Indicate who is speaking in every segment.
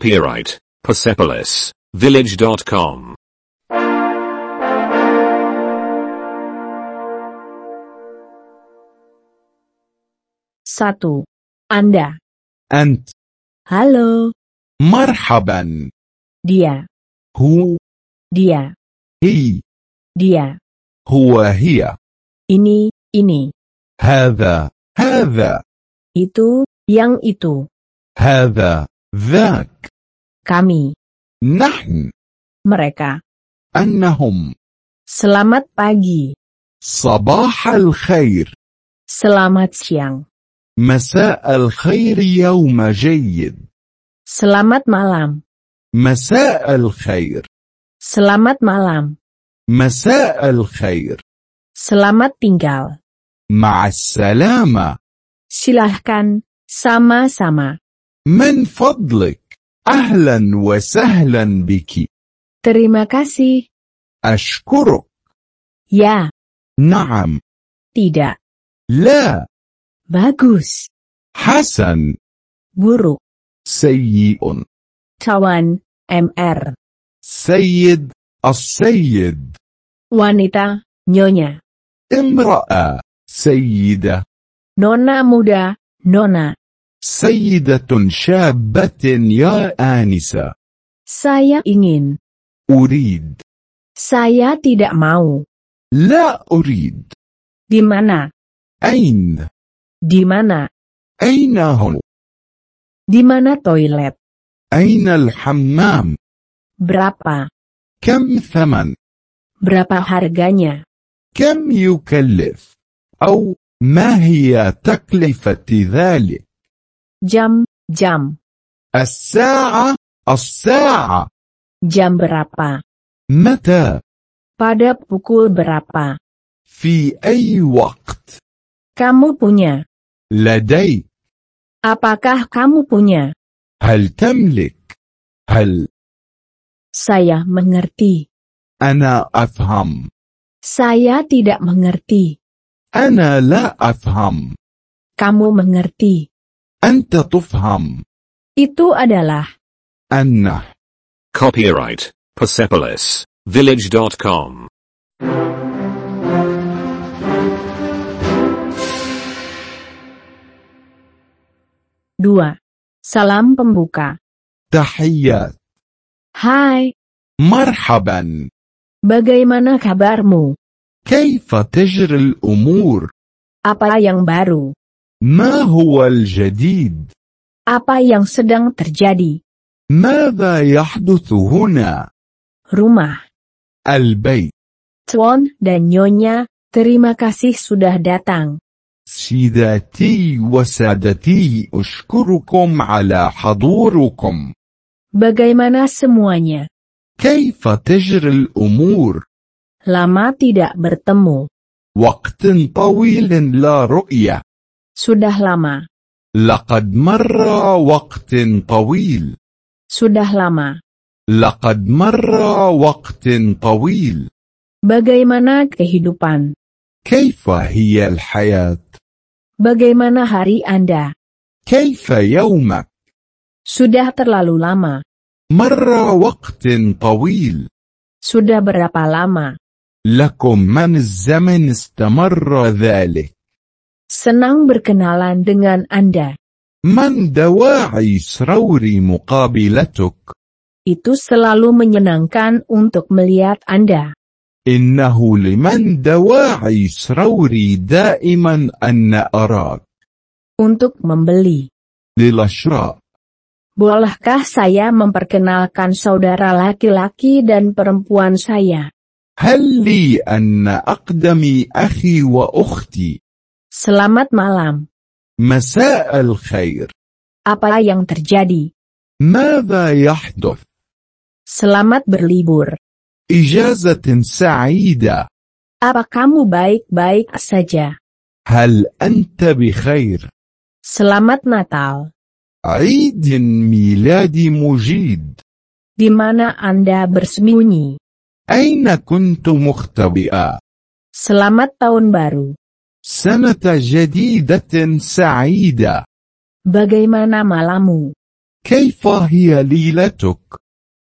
Speaker 1: Copyright Persepolis Village.com.
Speaker 2: Satu. Anda.
Speaker 3: أنت
Speaker 2: Halo.
Speaker 3: مرحبا
Speaker 2: Dia.
Speaker 3: هو
Speaker 2: Dia.
Speaker 3: هي
Speaker 2: Dia.
Speaker 3: هو هي
Speaker 2: Ini. Ini.
Speaker 3: هذا هذا
Speaker 2: Itu. Yang itu.
Speaker 3: هذا ذاك
Speaker 2: Kami.
Speaker 3: نحن
Speaker 2: Mereka.
Speaker 3: أنهم
Speaker 2: Selamat pagi.
Speaker 3: صباح الخير
Speaker 2: Selamat siang.
Speaker 3: مساء الخير يوم جيد
Speaker 2: Selamat malam.
Speaker 3: مساء الخير
Speaker 2: Selamat malam.
Speaker 3: مساء الخير
Speaker 2: Selamat tinggal.
Speaker 3: مع السلامة
Speaker 2: Silahkan. Sama-sama.
Speaker 3: من فضلك أهلا وسهلا بك
Speaker 2: Terima kasih.
Speaker 3: أشكرك
Speaker 2: Ya.
Speaker 3: نعم
Speaker 2: Tidak.
Speaker 3: لا
Speaker 2: Bagus.
Speaker 3: حسن
Speaker 2: Buruk.
Speaker 3: سيء
Speaker 2: Cawan. MR.
Speaker 3: سيد السيد
Speaker 2: Wanita. Nyonya.
Speaker 3: امرأة سيدة
Speaker 2: Nona muda, Nona,
Speaker 3: سيدة شابة يا آنسة
Speaker 2: saya ingin.
Speaker 3: أريد
Speaker 2: Saya tidak mau.
Speaker 3: لا أريد
Speaker 2: Di mana?
Speaker 3: أين
Speaker 2: Di mana?
Speaker 3: أين هو
Speaker 2: Di mana toilet?
Speaker 3: أين الحمام
Speaker 2: Berapa?
Speaker 3: كم ثمن
Speaker 2: Berapa harganya?
Speaker 3: كم يكلف أو ما هي تكلفة ذلك
Speaker 2: Jam, jam,
Speaker 3: الساعة الساعة
Speaker 2: jam berapa?
Speaker 3: متى
Speaker 2: Pada pukul berapa?
Speaker 3: في أي وقت
Speaker 2: Kamu punya?
Speaker 3: لديك
Speaker 2: Apakah kamu punya?
Speaker 3: هل تملك؟ هل
Speaker 2: Saya mengerti.
Speaker 3: أنا أفهم؟
Speaker 2: Saya tidak mengerti.
Speaker 3: أنا لا أفهم.
Speaker 2: Kamu mengerti.
Speaker 3: أنت تفهم.
Speaker 2: Itu adalah
Speaker 3: أنه
Speaker 1: Copyright Persepolis Village.com.
Speaker 2: dua. Salam pembuka.
Speaker 3: تحيات.
Speaker 2: Hai,
Speaker 3: مرحبا.
Speaker 2: bagaimana kabarmu?
Speaker 3: كيف تجري الأمور؟
Speaker 2: Apa yang baru?
Speaker 3: ما هو الجديد؟
Speaker 2: Apa yang sedang terjadi?
Speaker 3: ماذا يحدث هنا؟
Speaker 2: Rumah,
Speaker 3: البيت.
Speaker 2: Chuan dan Nyonya, terima kasih sudah datang.
Speaker 3: سيداتي وسادتي أشكركم على حضوركم.
Speaker 2: Bagaimana semuanya?
Speaker 3: كيف تجري الأمور؟
Speaker 2: Lama tidak bertemu.
Speaker 3: وقت طويل لا رؤية
Speaker 2: Sudah lama.
Speaker 3: لقد مر وقت طويل
Speaker 2: Sudah lama.
Speaker 3: لقد مر وقت طويل
Speaker 2: Bagaimana kehidupan?
Speaker 3: كيف هي الحياة
Speaker 2: Bagaimana hari Anda?
Speaker 3: كيف يومك
Speaker 2: Sudah terlalu lama.
Speaker 3: مر وقت طويل
Speaker 2: Sudah berapa lama?
Speaker 3: لكم من الزمن استمر ذلك
Speaker 2: Senang berkenalan dengan Anda.
Speaker 3: من دواعي سرور مقابلتك
Speaker 2: Itu selalu menyenangkan untuk melihat Anda.
Speaker 3: إنه لمن دواعي سروري دائما أن أراك
Speaker 2: untuk membeli.
Speaker 3: للشراء
Speaker 2: Bolehkah saya memperkenalkan saudara laki-laki dan perempuan saya?
Speaker 3: هل لي أن أقدم أخي وأختي
Speaker 2: Selamat malam.
Speaker 3: مساء الخير
Speaker 2: Apa yang terjadi?
Speaker 3: ماذا يحدث
Speaker 2: Selamat berlibur.
Speaker 3: إجازة سعيدة
Speaker 2: Apa kamu baik-baik saja?
Speaker 3: هل أنت بخير
Speaker 2: Selamat Natal.
Speaker 3: عيد ميلاد مجيد
Speaker 2: Di mana Anda bersembunyi?
Speaker 3: أين كنت مختبئة
Speaker 2: Selamat Tahun Baru.
Speaker 3: سنة جديدة سعيدة
Speaker 2: Bagaimana malammu?
Speaker 3: كيف هي ليلتك؟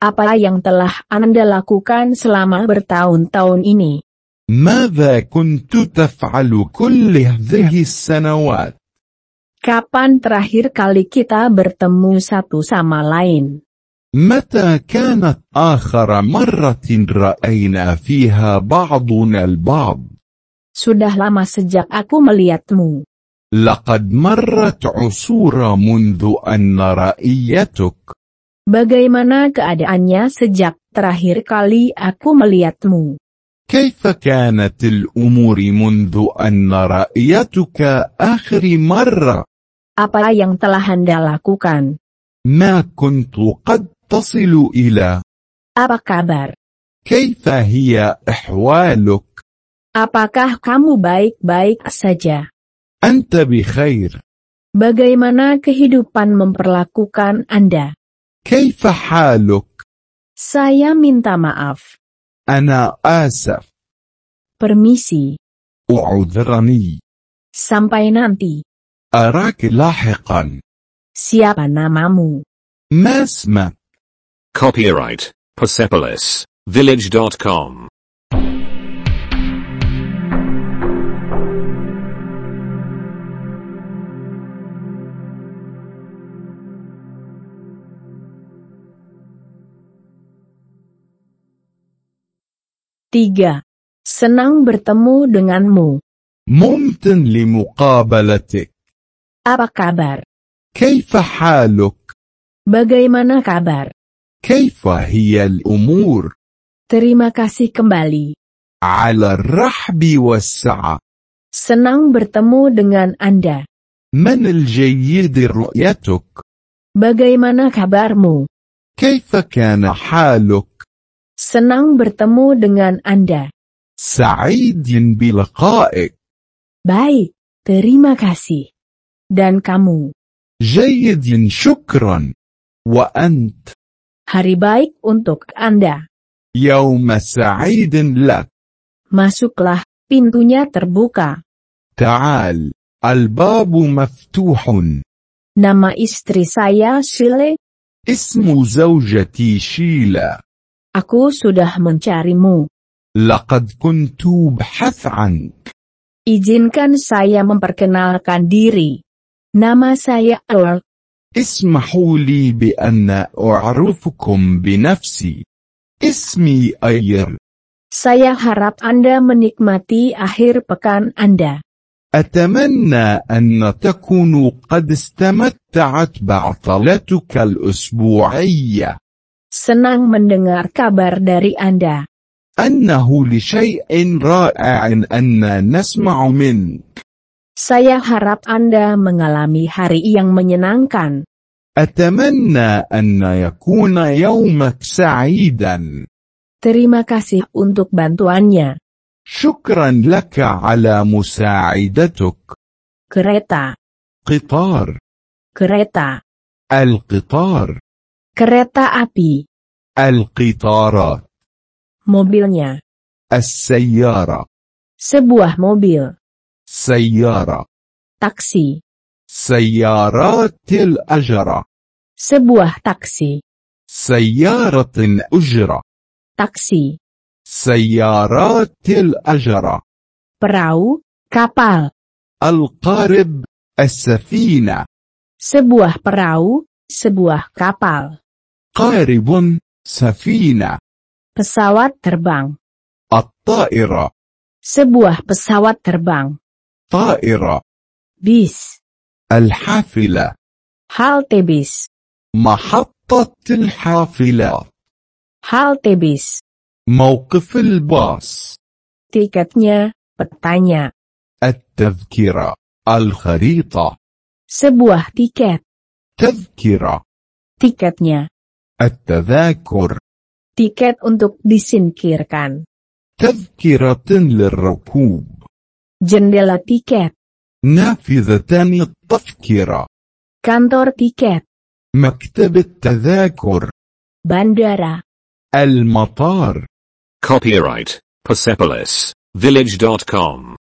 Speaker 2: Apa yang telah Anda lakukan selama bertahun-tahun ini?
Speaker 3: ماذا كنت تفعل كل هذه السنوات؟
Speaker 2: Kapan terakhir kali kita bertemu satu sama lain?
Speaker 3: متى كانت آخر مرة رأينا فيها بعضنا البعض؟
Speaker 2: Sudah lama sejak aku melihatmu.
Speaker 3: لقد مرت عصور منذ أن رأيتك
Speaker 2: Bagaimana keadaannya sejak terakhir kali aku melihatmu?
Speaker 3: كيف كانت الأمور منذ أن رأيتك آخر مرة؟
Speaker 2: Apa yang telah Anda lakukan?
Speaker 3: ما كنت قد تصل إلى
Speaker 2: Apa kabar?
Speaker 3: كيف هي أحوالك؟
Speaker 2: Apakah kamu baik-baik saja?
Speaker 3: أنت بخير
Speaker 2: Bagaimana kehidupan memperlakukan Anda?
Speaker 3: كيف حالك؟
Speaker 2: Saya minta maaf.
Speaker 3: أنا آسف
Speaker 2: Permisi.
Speaker 3: أعذرني
Speaker 2: Sampai nanti.
Speaker 3: أراك لاحقا
Speaker 2: Siapa namamu?
Speaker 3: ما اسمك؟
Speaker 1: Copyright Persepolis Village.com.
Speaker 2: Tiga. Senang bertemu denganmu.
Speaker 3: ممتن لمقابلتك
Speaker 2: Apa kabar?
Speaker 3: كيف حالك؟
Speaker 2: Bagaimana kabar?
Speaker 3: كيف هي الأمور؟
Speaker 2: Terima kasih kembali.
Speaker 3: على الرحب والسعة
Speaker 2: Senang bertemu dengan Anda.
Speaker 3: من الجيد رؤيتك؟
Speaker 2: Bagaimana kabarmu?
Speaker 3: كيف كان حالك؟
Speaker 2: Senang bertemu dengan Anda.
Speaker 3: سعيد بلقائك
Speaker 2: Baik, terima kasih. Dan kamu,
Speaker 3: جيد شكرا وأنت
Speaker 2: hari baik untuk Anda.
Speaker 3: يوم سعيد لك
Speaker 2: Masuklah, pintunya terbuka.
Speaker 3: تعال الباب مفتوح
Speaker 2: Nama istri saya Shile,
Speaker 3: اسم زوجتي شيلا
Speaker 2: aku sudah mencarimu.
Speaker 3: لقد كنت أبحث عنك
Speaker 2: Izinkan saya memperkenalkan diri. Nama saya Earl.
Speaker 3: اسمحوا لي بأن أعرفكم بنفسي اسمي أير
Speaker 2: Saya harap Anda menikmati akhir pekan Anda.
Speaker 3: أتمنى أن تكونوا قد استمتعت بعطلتك الأسبوعية
Speaker 2: Senang mendengar kabar dari Anda.
Speaker 3: أنه لشيء رائع أن نسمع منك
Speaker 2: Saya harap Anda mengalami hari yang menyenangkan.
Speaker 3: أتمنى أن يكون يومك سعيدا
Speaker 2: Terima kasih untuk bantuannya.
Speaker 3: شكرا لك على مساعدتك
Speaker 2: Kereta,
Speaker 3: قطار
Speaker 2: kereta,
Speaker 3: القطار
Speaker 2: kereta api,
Speaker 3: القطارات
Speaker 2: mobilnya,
Speaker 3: السيارة
Speaker 2: sebuah mobil,
Speaker 3: سيارة
Speaker 2: taksi,
Speaker 3: سيارات الأجرة
Speaker 2: sebuah taksi,
Speaker 3: سيارة أجرة
Speaker 2: taksi,
Speaker 3: سيارات الأجرة
Speaker 2: perahu, kapal,
Speaker 3: القارب السفينة
Speaker 2: sebuah perahu, sebuah kapal,
Speaker 3: قارب سفينة
Speaker 2: pesawat terbang,
Speaker 3: الطائرة
Speaker 2: sebuah pesawat terbang,
Speaker 3: طائرة
Speaker 2: bis,
Speaker 3: الحافلة
Speaker 2: halte bis,
Speaker 3: محطة الحافلات
Speaker 2: halte bis,
Speaker 3: موقف الباص
Speaker 2: tiketnya, petanya,
Speaker 3: التذكرة الخريطة
Speaker 2: sebuah tiket,
Speaker 3: تذكرة
Speaker 2: tiketnya,
Speaker 3: التذاكر
Speaker 2: tiket untuk disingkirkan,
Speaker 3: تذكرة للركوب
Speaker 2: jendela tiket,
Speaker 3: نافذة التذكرة
Speaker 2: kantor tiket,
Speaker 3: مكتب التذاكر
Speaker 2: bandara,
Speaker 3: المطار
Speaker 1: Copyright Persepolis Village.com.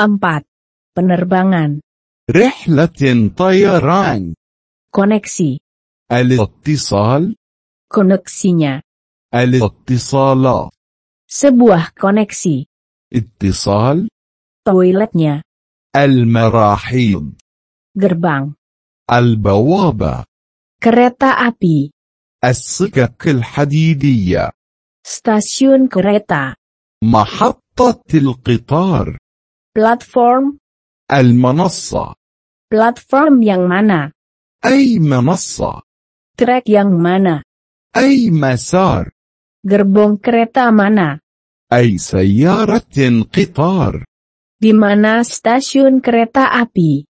Speaker 2: 4. Penerbangan,
Speaker 3: رحلة طيران
Speaker 2: koneksi,
Speaker 3: الاتصال
Speaker 2: koneksinya,
Speaker 3: الاتصالات
Speaker 2: sebuah koneksi,
Speaker 3: اتصال
Speaker 2: toiletnya,
Speaker 3: المراحيض
Speaker 2: gerbang,
Speaker 3: البوابة
Speaker 2: kereta api,
Speaker 3: السكك الحديدية
Speaker 2: stasiun kereta,
Speaker 3: محطة القطار
Speaker 2: platform,
Speaker 3: المنصة
Speaker 2: platform yang mana,
Speaker 3: أي منصة
Speaker 2: trek yang mana,
Speaker 3: أي مسار
Speaker 2: gerbong kereta mana,
Speaker 3: أي سيارة قطار
Speaker 2: di mana stasiun kereta api,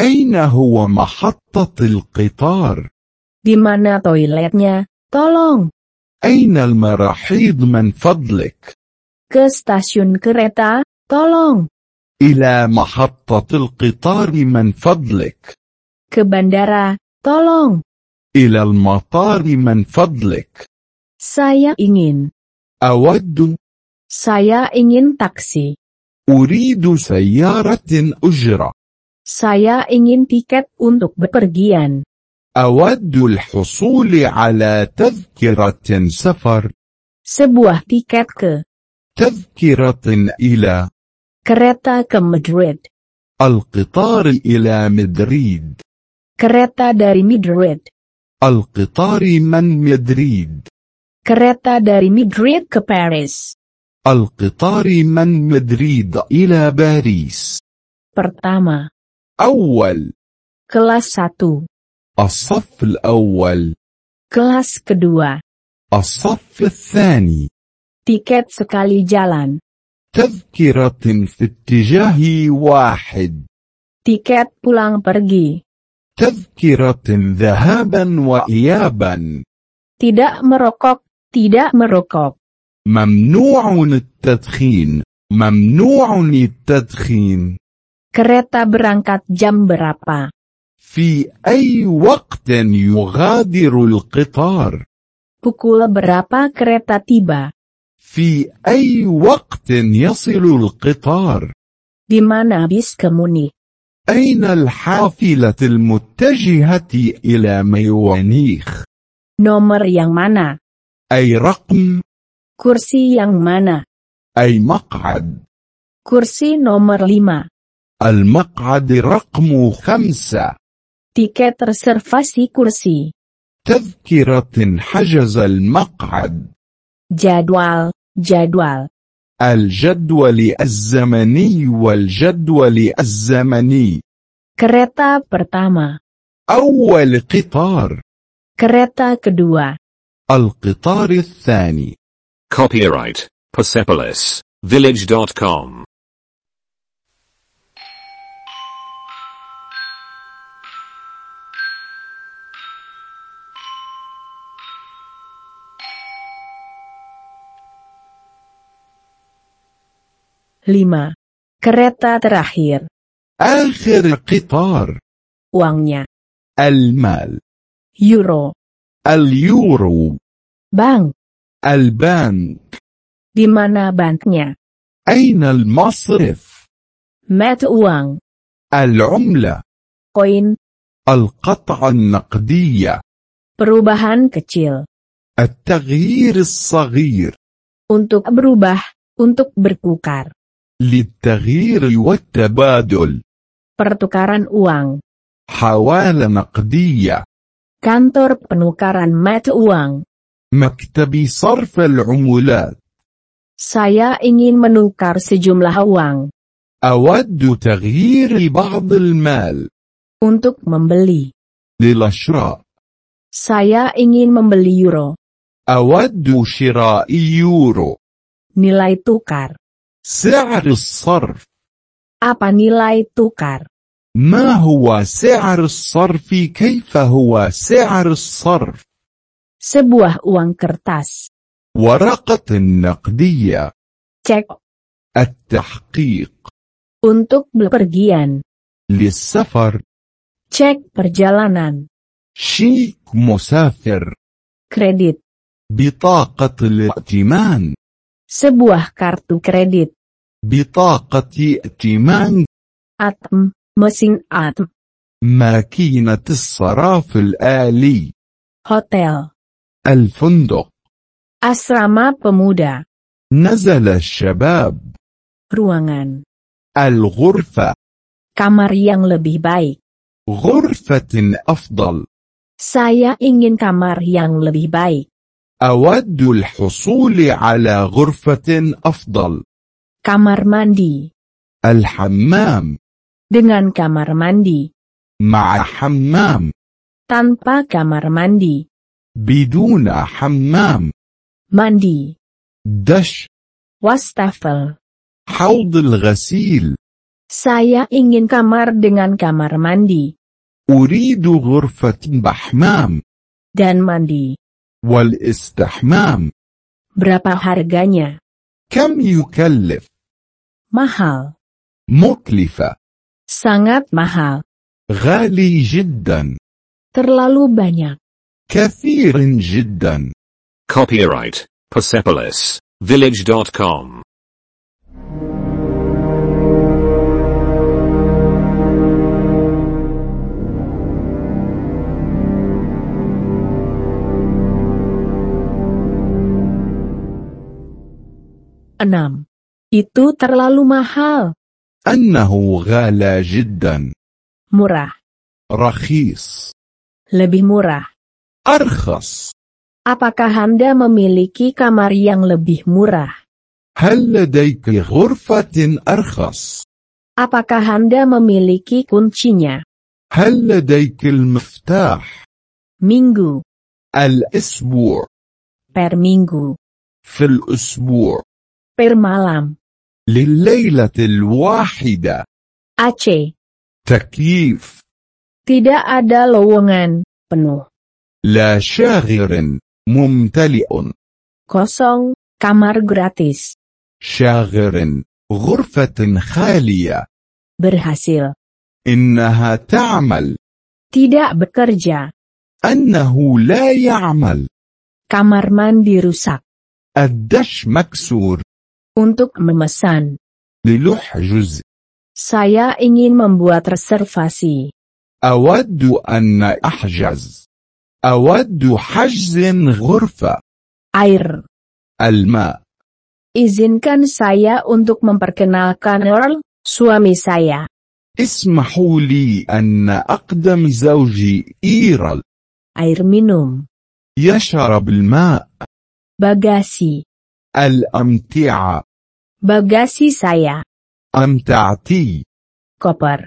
Speaker 3: أين هو محطة القطار
Speaker 2: di mana toiletnya, tolong,
Speaker 3: أين المراحيض من فضلك
Speaker 2: ke stasiun kereta, tolong,
Speaker 3: إلى محطة القطار من فضلك
Speaker 2: ke bandara, tolong,
Speaker 3: إلى المطار من فضلك
Speaker 2: saya ingin,
Speaker 3: أود
Speaker 2: saya ingin taksi,
Speaker 3: أريد سيارة أجرة
Speaker 2: saya ingin tiket untuk bepergian,
Speaker 3: أود الحصول على تذكرة سفر
Speaker 2: sebuah tiket ke
Speaker 3: تذكرة إلى
Speaker 2: kereta ke Madrid,
Speaker 3: القطار إلى مدريد
Speaker 2: kereta dari Madrid,
Speaker 3: القطار من مدريد
Speaker 2: kereta dari Madrid ke Paris,
Speaker 3: القطار من مدريد إلى باريس
Speaker 2: pertama,
Speaker 3: أول
Speaker 2: kelas 1,
Speaker 3: الصف الأول
Speaker 2: kelas kedua,
Speaker 3: الصف الثاني
Speaker 2: tiket sekali jalan,
Speaker 3: تذكرة في اتجاه واحد
Speaker 2: tiket pulang pergi,
Speaker 3: تذكرة ذهابا وإيابا
Speaker 2: tidak merokok, tidak merokok.
Speaker 3: ممنوع التدخين ممنوع التدخين
Speaker 2: Kereta berangkat jam berapa?
Speaker 3: في أي وقت يغادر القطار
Speaker 2: Pukul berapa kereta tiba?
Speaker 3: في أي وقت يصل القطار
Speaker 2: Di mana bis ke Munich?
Speaker 3: أين الحافلة المتجهة إلى ميوانيخ
Speaker 2: Nomor yang mana?
Speaker 3: أي رقم
Speaker 2: Kursi yang mana?
Speaker 3: أي مقعد
Speaker 2: Kursi nomor 5.
Speaker 3: المقعد رقم خمسة
Speaker 2: Tiket reservasi kursi.
Speaker 3: تذكرة حجز المقعد
Speaker 2: Jadwal, jadwal.
Speaker 3: الجدول الزمني والجدول الزمني
Speaker 2: Kereta pertama.
Speaker 3: أول قطار
Speaker 2: Kereta kedua.
Speaker 3: القطار الثاني
Speaker 1: Copyright Persepolis Village.com.
Speaker 2: lima. Kereta terakhir.
Speaker 3: آخر قطار
Speaker 2: Uangnya.
Speaker 3: المال
Speaker 2: Euro.
Speaker 3: اليورو
Speaker 2: Bank.
Speaker 3: البان
Speaker 2: Di mana banknya?
Speaker 3: أين المصرف
Speaker 2: Met uang.
Speaker 3: العملة
Speaker 2: Koin.
Speaker 3: القطعة النقدية
Speaker 2: Perubahan kecil.
Speaker 3: التغيير الصغير
Speaker 2: Untuk berubah, untuk bertukar.
Speaker 3: للتغيير والتبادل
Speaker 2: Pertukaran uang.
Speaker 3: حوالة نقدية
Speaker 2: Kantor penukaran mata uang.
Speaker 3: مكتب صرف العملات
Speaker 2: Saya ingin menukar sejumlah uang.
Speaker 3: أود تغيير بعض المال
Speaker 2: Untuk membeli.
Speaker 3: للشراء
Speaker 2: Saya ingin membeli euro.
Speaker 3: أود شراء يورو
Speaker 2: Nilai tukar.
Speaker 3: سعر الصرف
Speaker 2: Apa nilai tukar?
Speaker 3: ما هو سعر الصرف كيف هو سعر الصرف
Speaker 2: Sebuah uang kertas.
Speaker 3: ورقة نقدية
Speaker 2: Cek.
Speaker 3: التحقيق
Speaker 2: Untuk bepergian.
Speaker 3: للسفر
Speaker 2: Cek perjalanan.
Speaker 3: شيك مسافر
Speaker 2: Kredit.
Speaker 3: بطاقة الائتمان
Speaker 2: Sebuah kartu kredit.
Speaker 3: بطاقة ائتمان
Speaker 2: ATM, mesin ATM,
Speaker 3: ماكينة الصراف الآلي
Speaker 2: hotel,
Speaker 3: الفندق
Speaker 2: asrama pemuda,
Speaker 3: نزل الشباب
Speaker 2: ruangan,
Speaker 3: الغرفة
Speaker 2: kamar yang lebih baik.
Speaker 3: غرفة أفضل
Speaker 2: Saya ingin kamar yang lebih baik.
Speaker 3: أود الحصول على غرفة أفضل
Speaker 2: Kamar mandi,
Speaker 3: الحمام
Speaker 2: dengan kamar mandi,
Speaker 3: مع حمام
Speaker 2: tanpa kamar mandi,
Speaker 3: بدون حمام
Speaker 2: mandi,
Speaker 3: دش
Speaker 2: wastafel.
Speaker 3: حوض الغسيل
Speaker 2: Saya ingin kamar dengan kamar mandi,
Speaker 3: أريد غرفة بحمام
Speaker 2: dan mandi.
Speaker 3: والاستحمام
Speaker 2: Berapa harganya?
Speaker 3: كم يكلف
Speaker 2: Mahal.
Speaker 3: مكلفة
Speaker 2: Sangat mahal.
Speaker 3: غالي جدا
Speaker 2: Terlalu banyak.
Speaker 3: كثير جدا
Speaker 1: Copyright Persepolis Village.com.
Speaker 2: Enam. Itu terlalu mahal.
Speaker 3: أنه غالى جدا
Speaker 2: Murah.
Speaker 3: رخيص
Speaker 2: Lebih murah.
Speaker 3: أرخص
Speaker 2: Apakah Anda memiliki kamar yang lebih murah?
Speaker 3: هل لديك غرفة أرخص؟
Speaker 2: Apakah Anda memiliki kuncinya?
Speaker 3: هل لديك المفتاح؟
Speaker 2: Minggu,
Speaker 3: الأسبوع
Speaker 2: per minggu,
Speaker 3: في الأسبوع
Speaker 2: per malam.
Speaker 3: لليلة الواحدة
Speaker 2: AC.
Speaker 3: تكييف
Speaker 2: Tidak ada lowongan, penuh,
Speaker 3: لا شاغر ممتلئ
Speaker 2: kosong, kamar gratis.
Speaker 3: شاغر غرفة خالية
Speaker 2: Berhasil.
Speaker 3: إنها تعمل
Speaker 2: Tidak bekerja.
Speaker 3: أنه لا يعمل
Speaker 2: Kamar mandi rusak.
Speaker 3: الدش مكسور
Speaker 2: Untuk memesan,
Speaker 3: للحجز
Speaker 2: saya ingin membuat reservasi.
Speaker 3: أود أن أحجز أود حجز غرفة
Speaker 2: Air.
Speaker 3: الماء
Speaker 2: Izinkan saya untuk memperkenalkan Earl, suami saya.
Speaker 3: اسمحوا لي أن أقدم زوجي إيرل
Speaker 2: Air minum.
Speaker 3: يشرب الماء
Speaker 2: Bagasi.
Speaker 3: الأمتعة
Speaker 2: Bagasi saya.
Speaker 3: أمتعتي
Speaker 2: Koper.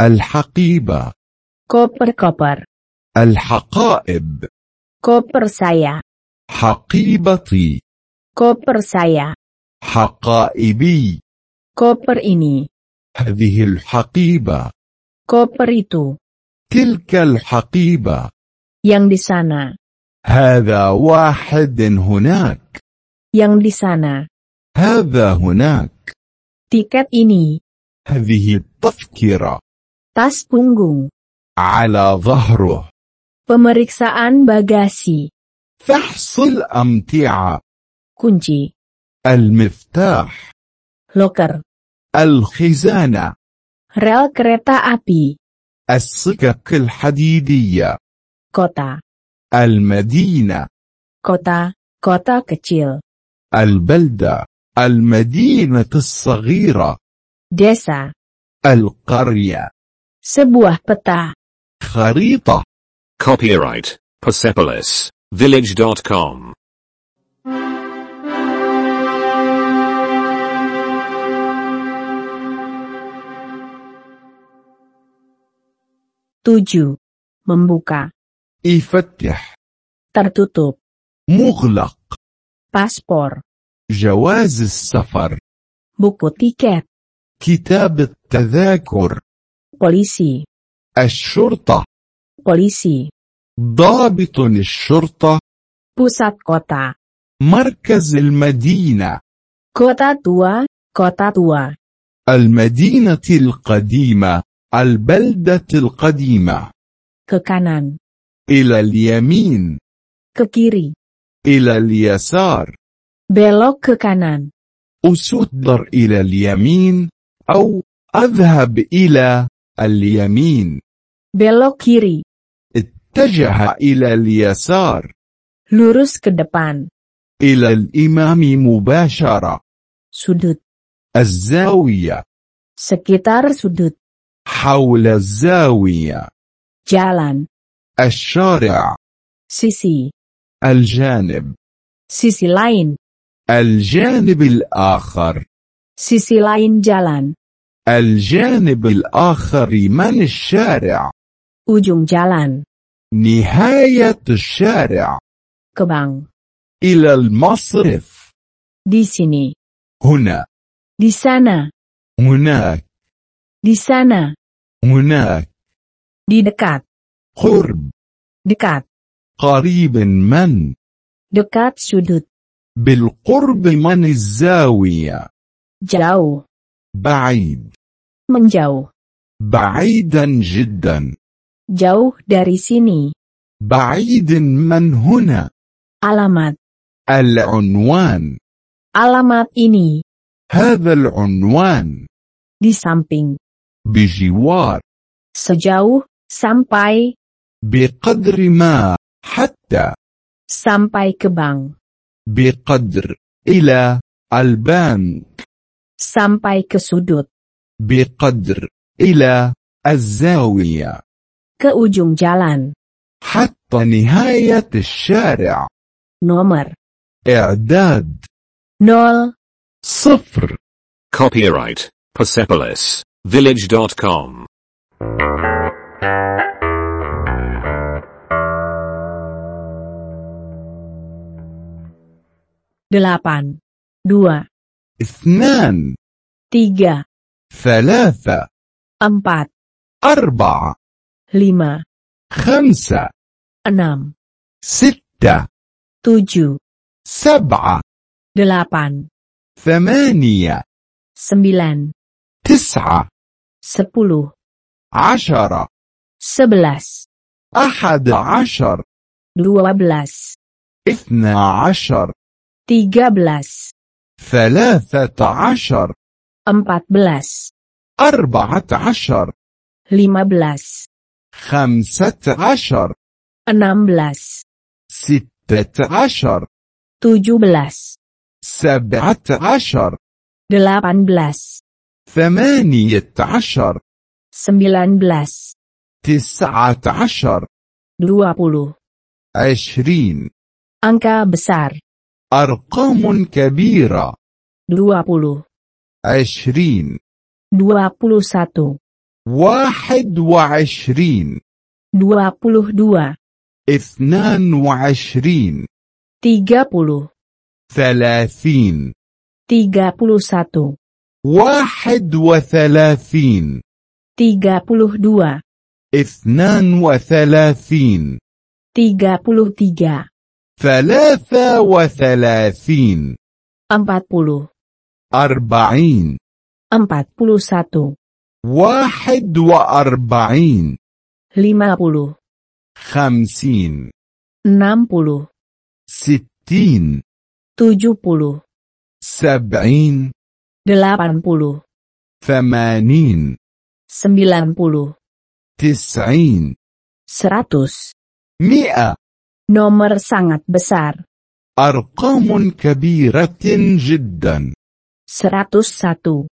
Speaker 3: الحقيبة
Speaker 2: Koper-koper.
Speaker 3: الحقائب
Speaker 2: Koper saya.
Speaker 3: حقيبتي
Speaker 2: Koper saya.
Speaker 3: حقائبي
Speaker 2: Koper ini.
Speaker 3: هذه الحقيبة
Speaker 2: Koper itu.
Speaker 3: تلك الحقيبة
Speaker 2: Yang di sana.
Speaker 3: هذا واحد هناك
Speaker 2: Yang di sana.
Speaker 3: هذا هناك
Speaker 2: Tiket ini.
Speaker 3: هذه التذكرة
Speaker 2: Tas punggung.
Speaker 3: على ظهره
Speaker 2: Pemeriksaan bagasi.
Speaker 3: فحص الأمتعة
Speaker 2: Kunci.
Speaker 3: المفتاح
Speaker 2: Loker.
Speaker 3: الخزانة
Speaker 2: Rel kereta api.
Speaker 3: السكك الحديدية
Speaker 2: Kota.
Speaker 3: المدينة
Speaker 2: Kota. Kota kecil.
Speaker 3: البلدة المدينة الصغيرة
Speaker 2: Desa.
Speaker 3: القرية
Speaker 2: Sebuah peta.
Speaker 3: خريطة
Speaker 1: Copyright Persepolis Village.com.
Speaker 2: Tujuh. Membuka.
Speaker 3: يفتح
Speaker 2: Tertutup.
Speaker 3: مغلق
Speaker 2: Paspor.
Speaker 3: جواز السفر
Speaker 2: Buku tiket.
Speaker 3: كتاب التذاكر
Speaker 2: Polisi.
Speaker 3: الشرطة
Speaker 2: Polisi.
Speaker 3: ضابط الشرطة
Speaker 2: Pusat kota.
Speaker 3: مركز المدينة
Speaker 2: Kota tua. Kota tua.
Speaker 3: المدينة القديمة البلدة القديمة
Speaker 2: Ke kanan.
Speaker 3: إلى اليمين
Speaker 2: Ke kiri.
Speaker 3: إلى اليسار
Speaker 2: Belok ke kanan.
Speaker 3: أسدر إلى اليمين أو أذهب إلى اليمين
Speaker 2: belok kiri,
Speaker 3: اتجه إلى اليسار
Speaker 2: lurus ke depan,
Speaker 3: إلى الإمام مباشرة
Speaker 2: sudut,
Speaker 3: الزاوية
Speaker 2: sekitar sudut,
Speaker 3: حول الزاوية
Speaker 2: jalan,
Speaker 3: الشارع
Speaker 2: sisi,
Speaker 3: الجانب
Speaker 2: sisi lain,
Speaker 3: الجانب الآخر
Speaker 2: sisi lain jalan,
Speaker 3: الجانب الآخر من الشارع
Speaker 2: ujung jalan,
Speaker 3: نهاية الشارع
Speaker 2: ke bank,
Speaker 3: إلى المصرف
Speaker 2: di sini,
Speaker 3: هنا
Speaker 2: di sana,
Speaker 3: هناك
Speaker 2: di sana,
Speaker 3: هناك
Speaker 2: di dekat,
Speaker 3: قرب
Speaker 2: dekat,
Speaker 3: قريب من
Speaker 2: dekat sudut,
Speaker 3: بالقرب من الزاوية
Speaker 2: jauh,
Speaker 3: بعيد
Speaker 2: menjauh,
Speaker 3: بعيدا جدا
Speaker 2: jauh dari sini,
Speaker 3: بعيد من هنا
Speaker 2: alamat,
Speaker 3: العنوان
Speaker 2: alamat ini,
Speaker 3: هذا العنوان
Speaker 2: di samping,
Speaker 3: بجوار
Speaker 2: sejauh, sampai,
Speaker 3: بقدر ما حتى
Speaker 2: sampai ke bank,
Speaker 3: بقدر إلى البنك
Speaker 2: sampai ke sudut,
Speaker 3: بقدر إلى الزاوية
Speaker 2: ke ujung jalan,
Speaker 3: حتى نهاية الشارع
Speaker 2: nomor,
Speaker 3: إعداد
Speaker 2: nol,
Speaker 3: صفر
Speaker 1: Copyright Persepolis Village.com.
Speaker 2: delapan, dua,
Speaker 3: اثنان
Speaker 2: tiga,
Speaker 3: ثلاثة
Speaker 2: empat,
Speaker 3: أربعة
Speaker 2: lima,
Speaker 3: خمسة
Speaker 2: enam,
Speaker 3: ستة
Speaker 2: tujuh,
Speaker 3: سبعة
Speaker 2: delapan,
Speaker 3: ثمانية
Speaker 2: sembilan,
Speaker 3: تسعة
Speaker 2: sepuluh,
Speaker 3: عشرة
Speaker 2: sebelas,
Speaker 3: أحد عشر
Speaker 2: dua belas,
Speaker 3: اثنا عشر
Speaker 2: tiga belas,
Speaker 3: ثلاثة عشر
Speaker 2: empat belas,
Speaker 3: أربعة عشر
Speaker 2: lima belas,
Speaker 3: خمسة عشر
Speaker 2: enam belas,
Speaker 3: ستة عشر
Speaker 2: tujuh belas,
Speaker 3: سبعة عشر
Speaker 2: delapan belas,
Speaker 3: ثمانية عشر
Speaker 2: sembilan belas,
Speaker 3: تسعة عشر
Speaker 2: dua puluh.
Speaker 3: عشرين
Speaker 2: Angka besar,
Speaker 3: أرقام كبيرة
Speaker 2: 20,
Speaker 3: عشرين
Speaker 2: 21,
Speaker 3: واحد وعشرين
Speaker 2: 22,
Speaker 3: اثنان وعشرين
Speaker 2: 30,
Speaker 3: ثلاثين
Speaker 2: 31,
Speaker 3: واحد وثلاثين
Speaker 2: 32,
Speaker 3: اثنان وثلاثين
Speaker 2: 33,
Speaker 3: ثلاثة وثلاثين
Speaker 2: 40,
Speaker 3: أربعين
Speaker 2: 41,
Speaker 3: واحد وأربعين
Speaker 2: 50,
Speaker 3: خمسين
Speaker 2: 60,
Speaker 3: ستين
Speaker 2: 70,
Speaker 3: سبعين
Speaker 2: 80,
Speaker 3: ثمانين
Speaker 2: 90,
Speaker 3: تسعين
Speaker 2: 100.
Speaker 3: مئة
Speaker 2: Nomor sangat besar,
Speaker 3: أرقام كبيرة جدا
Speaker 2: 101,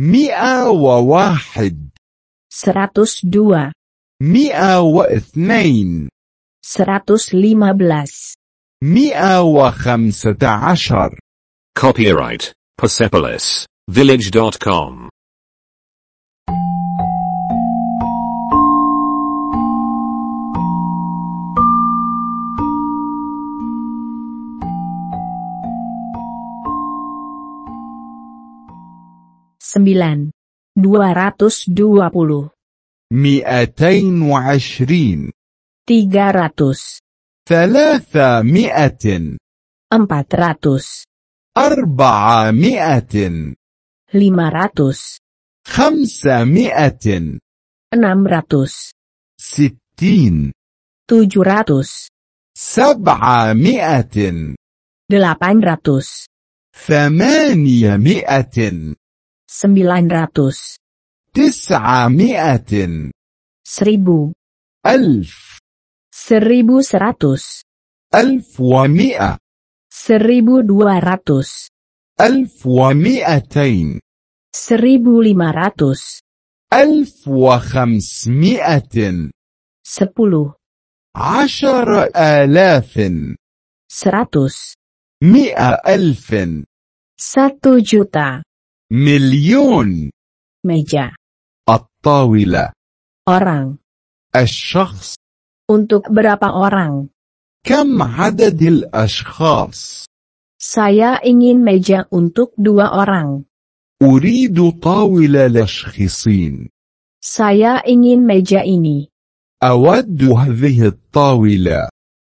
Speaker 3: مئة وواحد
Speaker 2: 102,
Speaker 3: مئة واثنين
Speaker 2: 115.
Speaker 3: مئة وخمسة عشر
Speaker 1: Copyright Persepolis Village.com.
Speaker 2: sembilan dua ratus dua puluh
Speaker 3: مئتين وعشرين
Speaker 2: tiga ratus
Speaker 3: ثلاثمائة
Speaker 2: empat ratus
Speaker 3: أربعمائة
Speaker 2: lima ratus
Speaker 3: خمسمائة
Speaker 2: enam ratus
Speaker 3: ستين
Speaker 2: tujuh ratus
Speaker 3: سبعمائة
Speaker 2: delapan ratus
Speaker 3: ثمانيمائة
Speaker 2: 900,
Speaker 3: تسعمائة
Speaker 2: 1000,
Speaker 3: ألف
Speaker 2: 1100,
Speaker 3: ألف ومئة
Speaker 2: 1200,
Speaker 3: ألف ومئتين
Speaker 2: 1500,
Speaker 3: ألف وخمسمائة
Speaker 2: 10,
Speaker 3: عشر آلاف
Speaker 2: 100,
Speaker 3: مئة ألف
Speaker 2: 1 juta.
Speaker 3: مليون
Speaker 2: Meja,
Speaker 3: الطاولة
Speaker 2: orang,
Speaker 3: الشخص
Speaker 2: untuk berapa orang?
Speaker 3: كم عدد الأشخاص
Speaker 2: Saya ingin meja untuk dua orang.
Speaker 3: أريد طاولة لشخصين
Speaker 2: Saya ingin meja ini.
Speaker 3: أود هذه الطاولة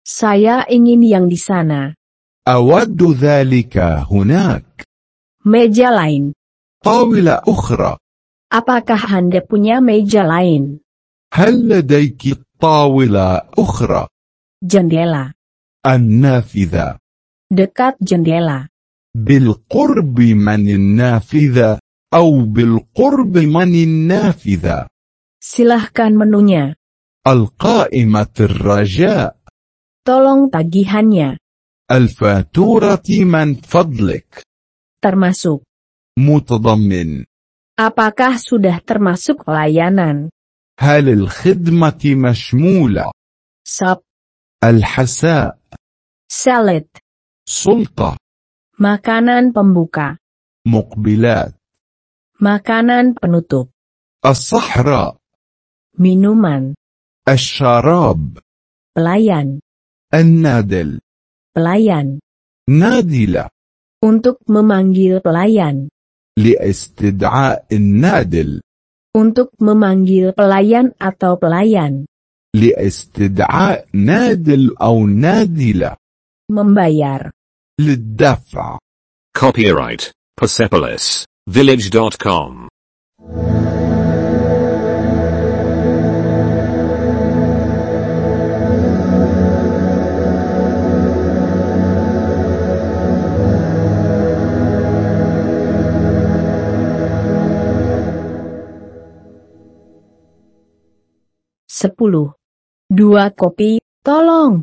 Speaker 2: Saya ingin yang di sana.
Speaker 3: أود ذلك هناك
Speaker 2: Meja lain.
Speaker 3: طاولة أخرى
Speaker 2: Apakah Anda punya meja lain?
Speaker 3: هل لديك طاولة أخرى
Speaker 2: Jendela.
Speaker 3: النافذة
Speaker 2: Dekat jendela.
Speaker 3: بالقرب من النافذة أو بالقرب من النافذة
Speaker 2: Silahkan menunya.
Speaker 3: القائمة الرجاء
Speaker 2: Tolong tagihannya.
Speaker 3: الفاتورة من فضلك
Speaker 2: Termasuk.
Speaker 3: متضمن
Speaker 2: Apakah sudah termasuk layanan?
Speaker 3: هل الخدمة مشمولة
Speaker 2: Sop.
Speaker 3: الحساء
Speaker 2: Salad.
Speaker 3: سلطة
Speaker 2: Makanan pembuka.
Speaker 3: مقبلات
Speaker 2: Makanan penutup.
Speaker 3: الصحراء
Speaker 2: Minuman.
Speaker 3: الشراب
Speaker 2: Pelayan.
Speaker 3: النادل
Speaker 2: Pelayan.
Speaker 3: نادلة
Speaker 2: Untuk memanggil pelayan.
Speaker 3: لاستدعاء النادل
Speaker 2: Untuk memanggil pelayan atau pelayan.
Speaker 3: لاستدعاء نادل أو نادلة
Speaker 2: Membayar.
Speaker 3: للدفع
Speaker 1: Copyright Persepolis Village.com.
Speaker 2: Sepuluh. Dua kopi, tolong.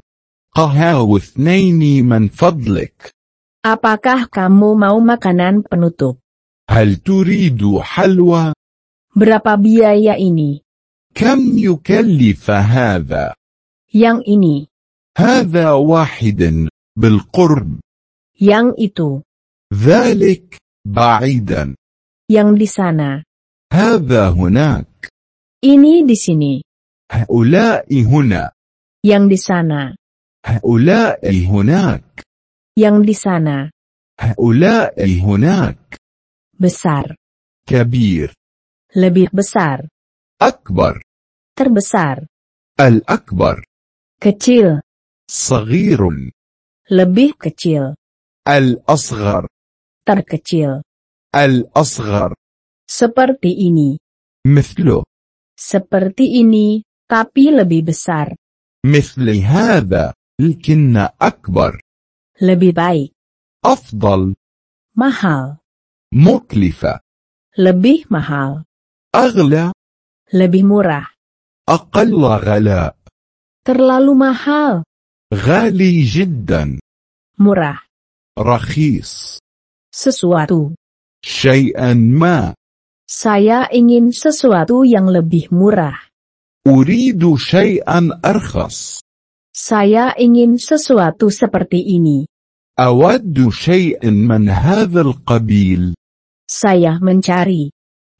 Speaker 3: قهوة اثنين من فضلك
Speaker 2: Apakah kamu mau makanan penutup?
Speaker 3: هل تريد حلوى؟
Speaker 2: Berapa biaya ini?
Speaker 3: كم يكلف هذا؟
Speaker 2: Yang ini,
Speaker 3: هذا واحد بالقرب
Speaker 2: yang itu,
Speaker 3: ذلك بعيدا
Speaker 2: yang di sana.
Speaker 3: هذا هناك
Speaker 2: Ini di sini,
Speaker 3: هؤلاء هنا
Speaker 2: yang di sana,
Speaker 3: هؤلاء هناك
Speaker 2: yang di sana.
Speaker 3: هؤلاء هناك
Speaker 2: Besar,
Speaker 3: كبير
Speaker 2: lebih besar,
Speaker 3: أكبر
Speaker 2: terbesar,
Speaker 3: الأكبر
Speaker 2: kecil,
Speaker 3: صغير
Speaker 2: lebih kecil,
Speaker 3: الأصغر
Speaker 2: terkecil.
Speaker 3: الأصغر
Speaker 2: Seperti ini,
Speaker 3: مثله
Speaker 2: seperti ini, tapi lebih besar,
Speaker 3: مثل هذا لكن أكبر
Speaker 2: lebih baik,
Speaker 3: أفضل
Speaker 2: mahal,
Speaker 3: مكلفة
Speaker 2: lebih mahal,
Speaker 3: أغلى
Speaker 2: lebih murah,
Speaker 3: أقل غلاء
Speaker 2: terlalu mahal,
Speaker 3: غالي جدا
Speaker 2: murah.
Speaker 3: رخيص
Speaker 2: sesuatu.
Speaker 3: شيئا ما
Speaker 2: Saya ingin sesuatu yang lebih murah.
Speaker 3: أريد شيئا أرخص
Speaker 2: Saya ingin sesuatu seperti ini.
Speaker 3: أود شيئا من هذا القبيل
Speaker 2: Saya mencari.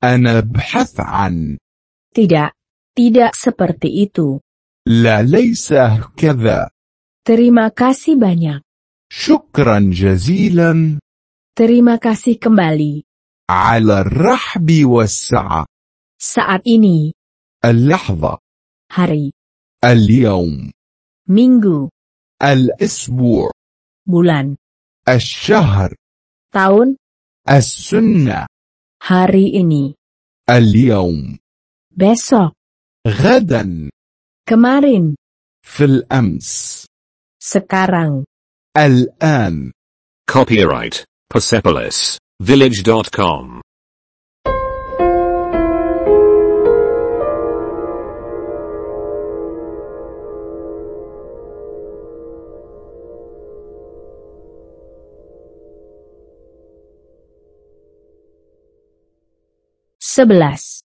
Speaker 3: أنا أبحث عن
Speaker 2: Tidak, tidak seperti itu.
Speaker 3: لا ليس هكذا
Speaker 2: Terima kasih banyak.
Speaker 3: شكرا جزيلا
Speaker 2: Terima kasih kembali.
Speaker 3: على الرحب والسعة
Speaker 2: Saat ini,
Speaker 3: اللحظة
Speaker 2: hari,
Speaker 3: اليوم
Speaker 2: minggu,
Speaker 3: الأسبوع
Speaker 2: bulan,
Speaker 3: الشهر
Speaker 2: tahun,
Speaker 3: السنة
Speaker 2: hari ini,
Speaker 3: اليوم
Speaker 2: besok,
Speaker 3: غدا
Speaker 2: kemarin,
Speaker 3: في الأمس
Speaker 2: sekarang.
Speaker 3: الآن
Speaker 1: Copyright Persepolis, village.com.
Speaker 2: sebelas.